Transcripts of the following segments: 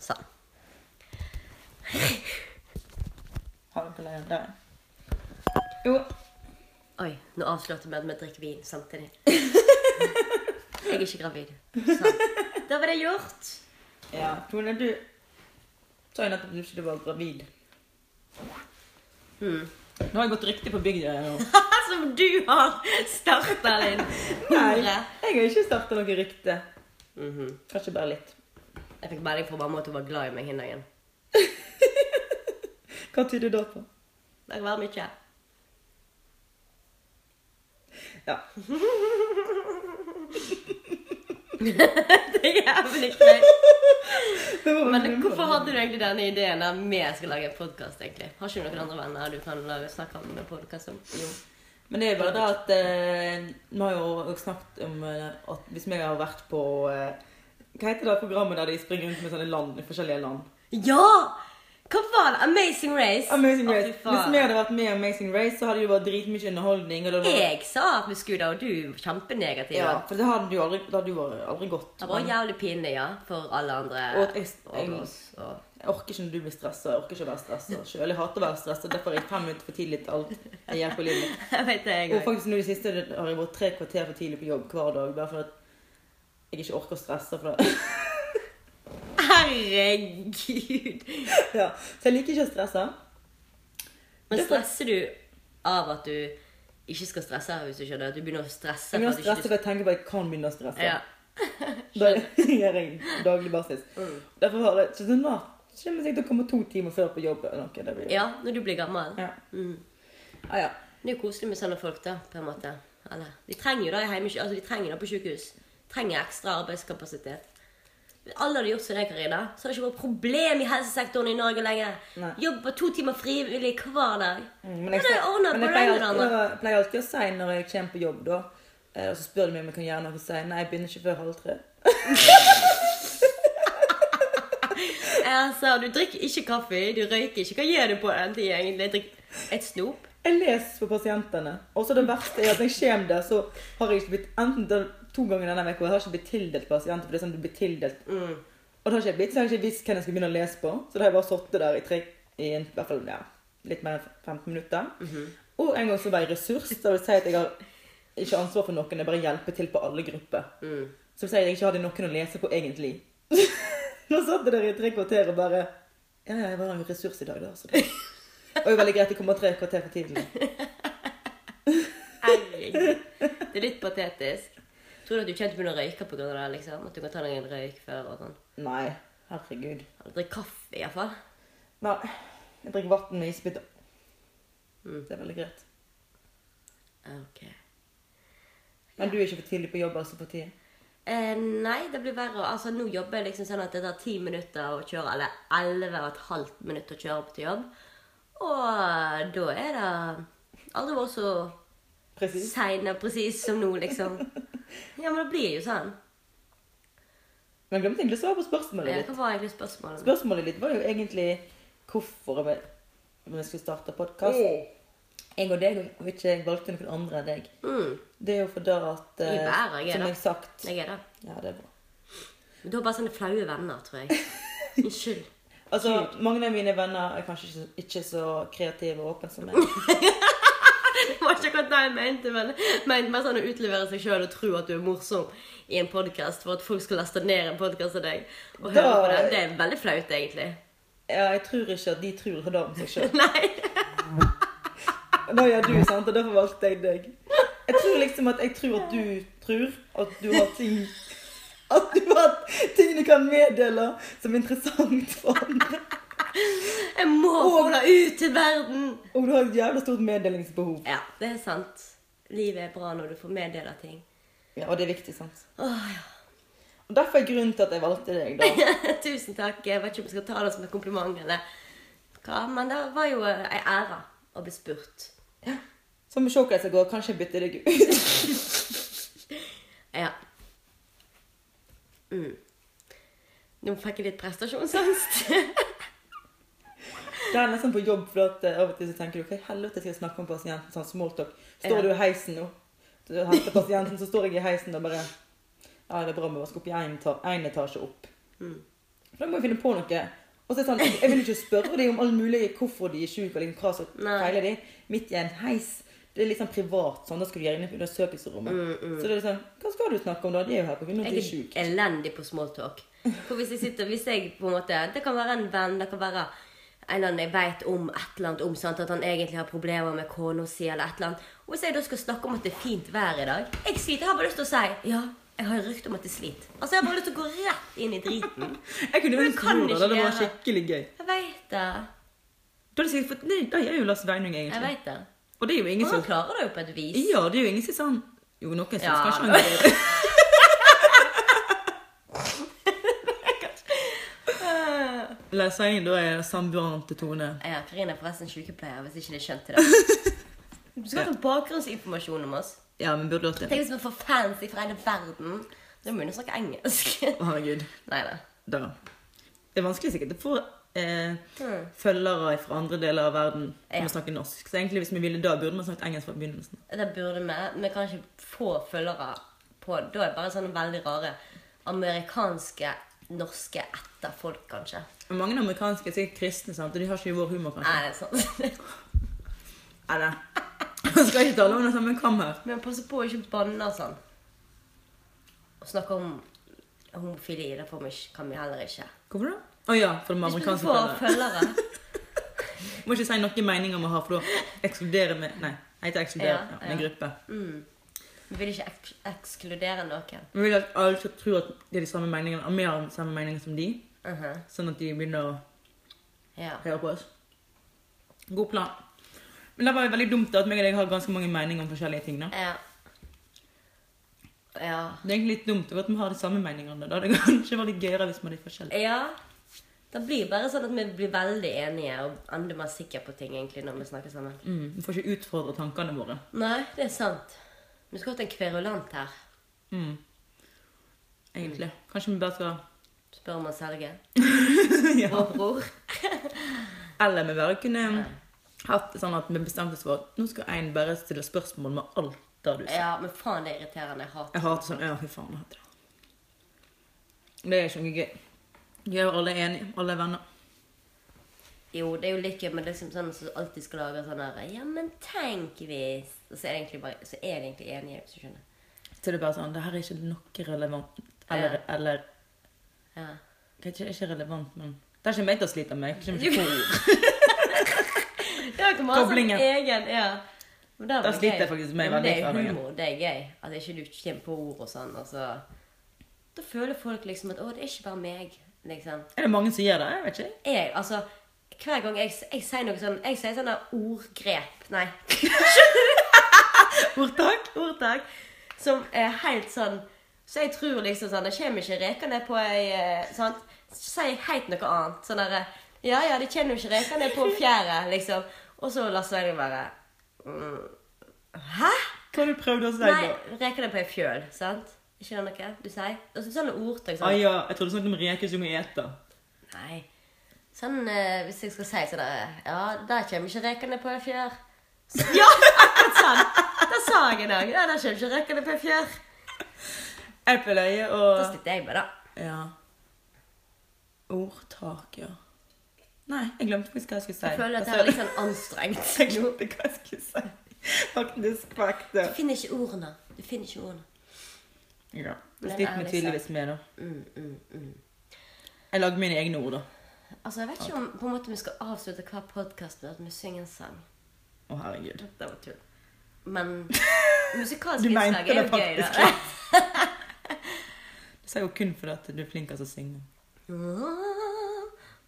sånn. Har du ikke levd det? Jo. Oi, nå avslørte vi at vi drikker vin samtidig. Jeg er ikke gravid. Sånn. Da var det gjort. Ja. Tone, du sa jo nettopp at du ikke var gravid. Hmm. Mm. Nå har jeg gått riktig på bygda. jeg, nå. Som du har starta, Linn. Hore. jeg har ikke starta noe rykte. Mhm. Kanskje bare litt. Jeg fikk melding fra mamma at hun var glad i meg den dagen. Hva tyder det da på? Det kan være mye. Ja. Det er jævlig greit. Men hvorfor har hadde du egentlig denne ideen om vi skal lage en podkast, egentlig? Har ikke du noen andre venner du kan lage, snakke om en podkast om? Jo. Men det er bare det at eh, Vi har jo også snakket om eh, at hvis vi har vært på eh, Hva heter det programmet der de springer rundt med sånne land i forskjellige land? Ja! Hva var det? Amazing Race. Amazing Å, fy Race. faen. Hvis vi hadde vært med i Amazing Race, så hadde det jo vært dritmye underholdning. Og det hadde vært- Jeg sa at vi skulle da, og du var kjempenegativ. ja, for det hadde jo aldri, det hadde jo aldri gått. Det var jævlig pinlig, ja, for alle andre. Og at jeg, og jeg, oss. Og... jeg orker ikke når du blir stressa. Jeg orker ikke å være stressa sjøl. Jeg hater å være stressa. Derfor er jeg fem minutter for tidlig til alt jeg gjør på livet. Jeg vet det, jeg Og òg. faktisk nå i det siste har jeg vært tre kvarter for tidlig på jobb hver dag. Bare for at jeg ikke orker å stresse. For det. Herregud. Ja. Så jeg liker ikke å stresse. Men Det er for- stresser du av at du ikke skal stresse, hvis du skjønner? At du begynner å stresse Jeg begynner å for at stresse for jeg tenker på at jeg kan begynne å stresse. Ja. Det gjør jeg daglig basis. Mm. Derfor har jeg så sånn da, så kommer jeg sikkert til å komme to timer før på jobb. eller noe. Det blir... ja, når du blir gammel. Ja. Mm. Ah, ja. Det er jo koselig med sånne folk, da, på en måte. Eller, de trenger jo det, hjemme, altså, de trenger det på sykehus. Trenger ekstra arbeidskapasitet. Hvis alle hadde gjort som deg, Karina, så hadde det ikke vært problem i helsesektoren i Norge lenger. Nei. Jobber to timer frivillig hver dag. Mm, Men Men jeg, det er jo ordnet men jeg på pleier, den alltid, andre. å- pleier alltid å si når jeg kommer på jobb, da, eh, og så spør de meg om jeg kan gjøre noe, og sier nei, jeg begynner ikke før halv tre. Altså, du drikker ikke kaffe, du røyker ikke. Hva gjør du på den tiden, egentlig? Drikk et snop? Jeg leser på pasientene. Og så det verste er at når jeg kommer der, så har jeg ikke blitt enten da, to ganger denne uka, jeg har ikke blitt tildelt pasienter, for det er sånn du blir tildelt. Mm. Og det har ikke jeg blitt, så jeg har ikke visst hvem jeg skal begynne å lese på. Så da har jeg bare sittet der i tre, i en- i hvert fall ja, litt mer enn 15 minutter. Mhm. Og en gang så var jeg ressurs, så det vil si at jeg har ikke ansvar for noen, jeg bare hjelper til på alle grupper. Mm. Så det vil si at jeg ikke hadde noen å lese på egentlig. Nå satt jeg der i tre kvarter og bare Ja, ja, jeg var en ressurs i dag, da. Så det og det er veldig greit, jeg kommer tre kvarter for tidlig. Herregud. Det er litt patetisk. Tror du at du ikke helt begynner å røyke på grunn av det, liksom? At du kan ta deg en røyk før og sånn? Nei, herregud. Eller drikke kaffe, i hvert fall. Nei, jeg drikker vann med isbiter. Mm. Det er veldig greit. Ok. Men du er ikke for tidlig på jobb, altså, for tida? Eh, nei, det blir verre. Altså, nå jobber jeg liksom sånn at det tar ti minutter å kjøre, eller elleve og et halvt minutt å kjøre opp til jobb. Og eh, da er det aldri vært så Presis. sein og presis som nå, liksom. Ja, men det blir jo sånn. Men jeg glemte egentlig å svare på spørsmålet Eh, ditt. Hva var egentlig spørsmålet? Spørsmålet ditt var jo egentlig hvorfor vi, vi skulle starte podkast. Jeg og deg, og ikke jeg valgte noen andre enn deg. Mm, Det er jo fordi at eh, Jeg er bare, jeg er Som da. jeg sagt jeg er det. Ja, det er bra. Men du har bare sånne flaue venner, tror jeg. Unnskyld. Altså, mange av mine venner er kanskje ikke, ikke så kreative og åpne som meg. Det var ikke akkurat det jeg mente, men jeg mente mer sånn å utlevere seg sjøl og tro at du er morsom i en podkast for at folk skal laste ned en podkast av deg og høre Da- på den. Det er veldig flaut, egentlig. Ja, jeg tror ikke at de tror det om seg sjøl. Nei. Da gjør du, sant, og derfor valgte jeg deg. Jeg tror liksom at jeg tror at du tror at du har ting At du har ting du kan meddele som er interessant for andre. Jeg må få det ut til verden! Og du har et jævla stort meddelingsbehov. Ja, det er sant. Livet er bra når du får meddele ting. Ja, Og det er viktig, sant? Åh, Og Derfor er grunnen til at jeg valgte deg, da. ja. Tusen takk. Jeg vet ikke om jeg skal ta det som en kompliment eller hva, men det var jo eh, ei ære å bli spurt. Så må vi se hvordan det går. Kanskje jeg bytter deg ut. Ja. Mm. Nå fikk jeg litt prestasjonsangst. Det er nesten på jobb, for at eh, av og til så tenker du hva i helvete skal jeg snakke om pasienten? Sånn smalltalk. Står Ja. du i heisen nå? Du henter pasienten, så står jeg i heisen og bare Ja, det er bra vi skal opp i én etasje opp. Mm. For da må jeg finne på noe. Og så er det sånn, Jeg vil ikke spørre dem om alle mulige hvorfor de er syke, eller hva som Nei. feiler de. Midt i en heis. Det er litt sånn privat. sånn, Da skal du gjerne under søkelserommet. Så det er sånn, hva skal du snakke om da? De er jo her på grunn av at de er Jeg syke. er elendig på smalltalk. For hvis jeg sitter, hvis jeg på en måte Det kan være en venn, det kan være en eller annen jeg vet om et eller annet om, sant? at han egentlig har problemer med kona si eller et eller annet. Og hvis jeg da skal snakke om at det er fint vær i dag Jeg sliter, jeg har bare lyst til å si ja. Jeg har rykte om at jeg sliter. Altså, jeg har bare lyst til å gå rett inn i driten. Jeg kunne Men ønske kan mor ikke da, det var gjøre. skikkelig gøy. Jeg veit det. Da hadde jeg sikkert fått, nei, da er jo Lars Veinung, Jeg egentlig. vet det. Og det er jo ingen Og han som klarer det jo på et vis. Ja, det er jo ingen som er sånn Jo, noen syns Ja, kanskje men- han gjør det. Lars Veinung da er samboeren til Tone. Ja, Karina er forresten sykepleier, hvis ikke dere skjønte det. Du skal ha bakgrunnsinformasjon om oss. Ja, men burde hatt det. Tenk hvis vi får fans fra hele verden. Da må vi jo snakke engelsk. Å, herregud. Nei da. Da. Det er vanskelig sikkert å få eh, Mm. følgere fra andre deler av verden som Ja. snakker norsk. Så egentlig hvis vi ville da, burde man snakket engelsk fra begynnelsen. Det burde vi. Vi kan ikke få følgere på Da er det bare sånne veldig rare amerikanske, norske etterfolk, kanskje. Men mange amerikanske er sikkert kristne, sant? og de har ikke vår humor, kanskje. Nei, det er sant. Er det? Jeg skal ikke tale om det samme kam her. Men pass på å ikke banne og sånn. Å snakke om homofili, det får vi ikke, kan vi heller ikke. Hvorfor det? Å ja, for de Hvis vi amerikanske får følgerne. følgere Må ikke si noen meninger vi har, for da ekskluderer vi Nei, jeg heter ekskludere. Ja, Ja, med ja. gruppe. Vi vil ikke eks ekskludere noen. Vi vil at alle skal tro at det er de samme meningene, og vi har de samme meningene som de. Mhm. Sånn at de begynner å Ja. høre på oss. God plan. Men det var jo veldig dumt da, at meg og deg har ganske mange meninger om forskjellige ting. da. Ja. Ja. Det er egentlig litt dumt at vi har de samme meningene. da. Det kan ikke være litt gøyere hvis vi har de forskjellige. Ja. Det blir bare sånn at vi blir veldig enige og enda mer sikre på ting egentlig når vi snakker sammen. Mm, vi får ikke utfordre tankene våre. Nei, det er sant. Vi skulle hatt en kverulant her. Mm. Egentlig. Kanskje vi bare skal Spør om han selger. ja. Vår bror. Eller vi bare kunne hatt det sånn at vi bestemte oss for at nå skal en bare stille spørsmål med alt det du sier. Ja, men faen, det er irriterende. Jeg hater Jeg hater sånn Ja, fy faen, jeg hater det. Det er ikke noe gøy. Jeg er alle enige. Alle er venner. Jo, det er jo litt gøy, men det er liksom sånn som alltid skal lage sånn her Ja, men tenk hvis Og så er det egentlig bare Så er det egentlig enige, hvis du skjønner. Så det er bare sånn Det her er ikke noe relevant. Eller, eller Ja. det er ikke, ikke relevant, men Det er ikke meg til å slite med. Jeg kommer ikke på ord. Ja, kan bare ha sånn Koblingen. egen Ja. Men det er Da vel sliter gøy. jeg faktisk med Ja, men veldig Det er hver jo dag. humor, det er gøy. At ikke du kommer på ord og sånn. Altså. Da føler folk liksom at 'Å, det er ikke bare meg'. liksom. Er det mange som gjør det? Jeg vet ikke. Jeg, altså, Hver gang jeg, jeg sier noe sånn Jeg sier sånne ordgrep Nei, Ordtak? ordtak. Som er helt sånn Så jeg tror liksom sånn Det kommer ikke rekene på ei eh, sant? Så sier jeg helt noe annet. Sånn derre Ja ja, det kommer jo ikke rekene på fjæra, liksom. Og så Lars Sveinung bare mm, Hæ? Hva har du prøvd å si Nei, da? reker det på ei fjøl, sant? Ikke det noe du sier? Og så sånne ordtak Ah, sånn. ja, jeg trodde du snakket om reker som må ete. Nei. Sånn, eh, hvis jeg skal si sånn der, Ja, der kommer ikke rekene på ei fjør. Så, ja, akkurat sånn! Da sa jeg i dag. Ja, der kommer ikke rekene på ei fjør. Epleleie Da og sliter jeg med det. Ja. Ordtak, ja. Nei, jeg glemte faktisk hva jeg skulle si. Jeg føler at Altså, det er litt sånn anstrengt. Jeg glemte hva jeg skulle si. Faktisk fakta. Du finner ikke ordene. Du finner ikke ordene. Ja. Men Det sliter ærlig vi tydeligvis med, da. Mm, mm, mm. Jeg lager mine egne ord, da. Altså, Jeg vet ikke om på en måte vi skal avslutte hver podkast med at vi synger en sang. Å, herregud. Det var tull. Men musikalsk Du innslag mente er det jo gøy, faktisk. da. Det sier jo kun fordi at du er flink til å synge.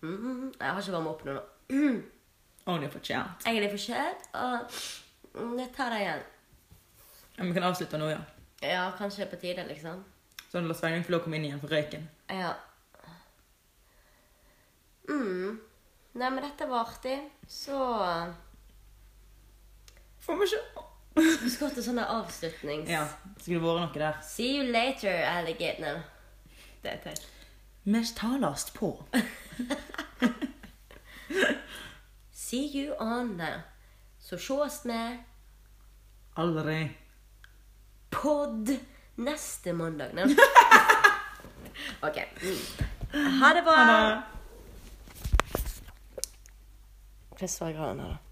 Mm, Jeg har ikke varmet opp nå. nå. Only for chat. Jeg er litt forkjølt, og mm, jeg tar det igjen. Ja, vi kan avslutte nå, ja. Ja, kanskje det er på tide, liksom. Sånn la Sveinung få lov å komme inn igjen for røyken. Ja. Mm. Nei, men dette var artig. Så Får vi se. Vi skulle hatt en sånn der avslutnings... Ja, skulle det vært noe der. See you later, alligator. Det er teit. Vi talast på. See you on. Så sjås vi Aldri. pod neste mandag. Nei. OK. Mm. Ha det bra. Ha det. Hva svarer han her, da?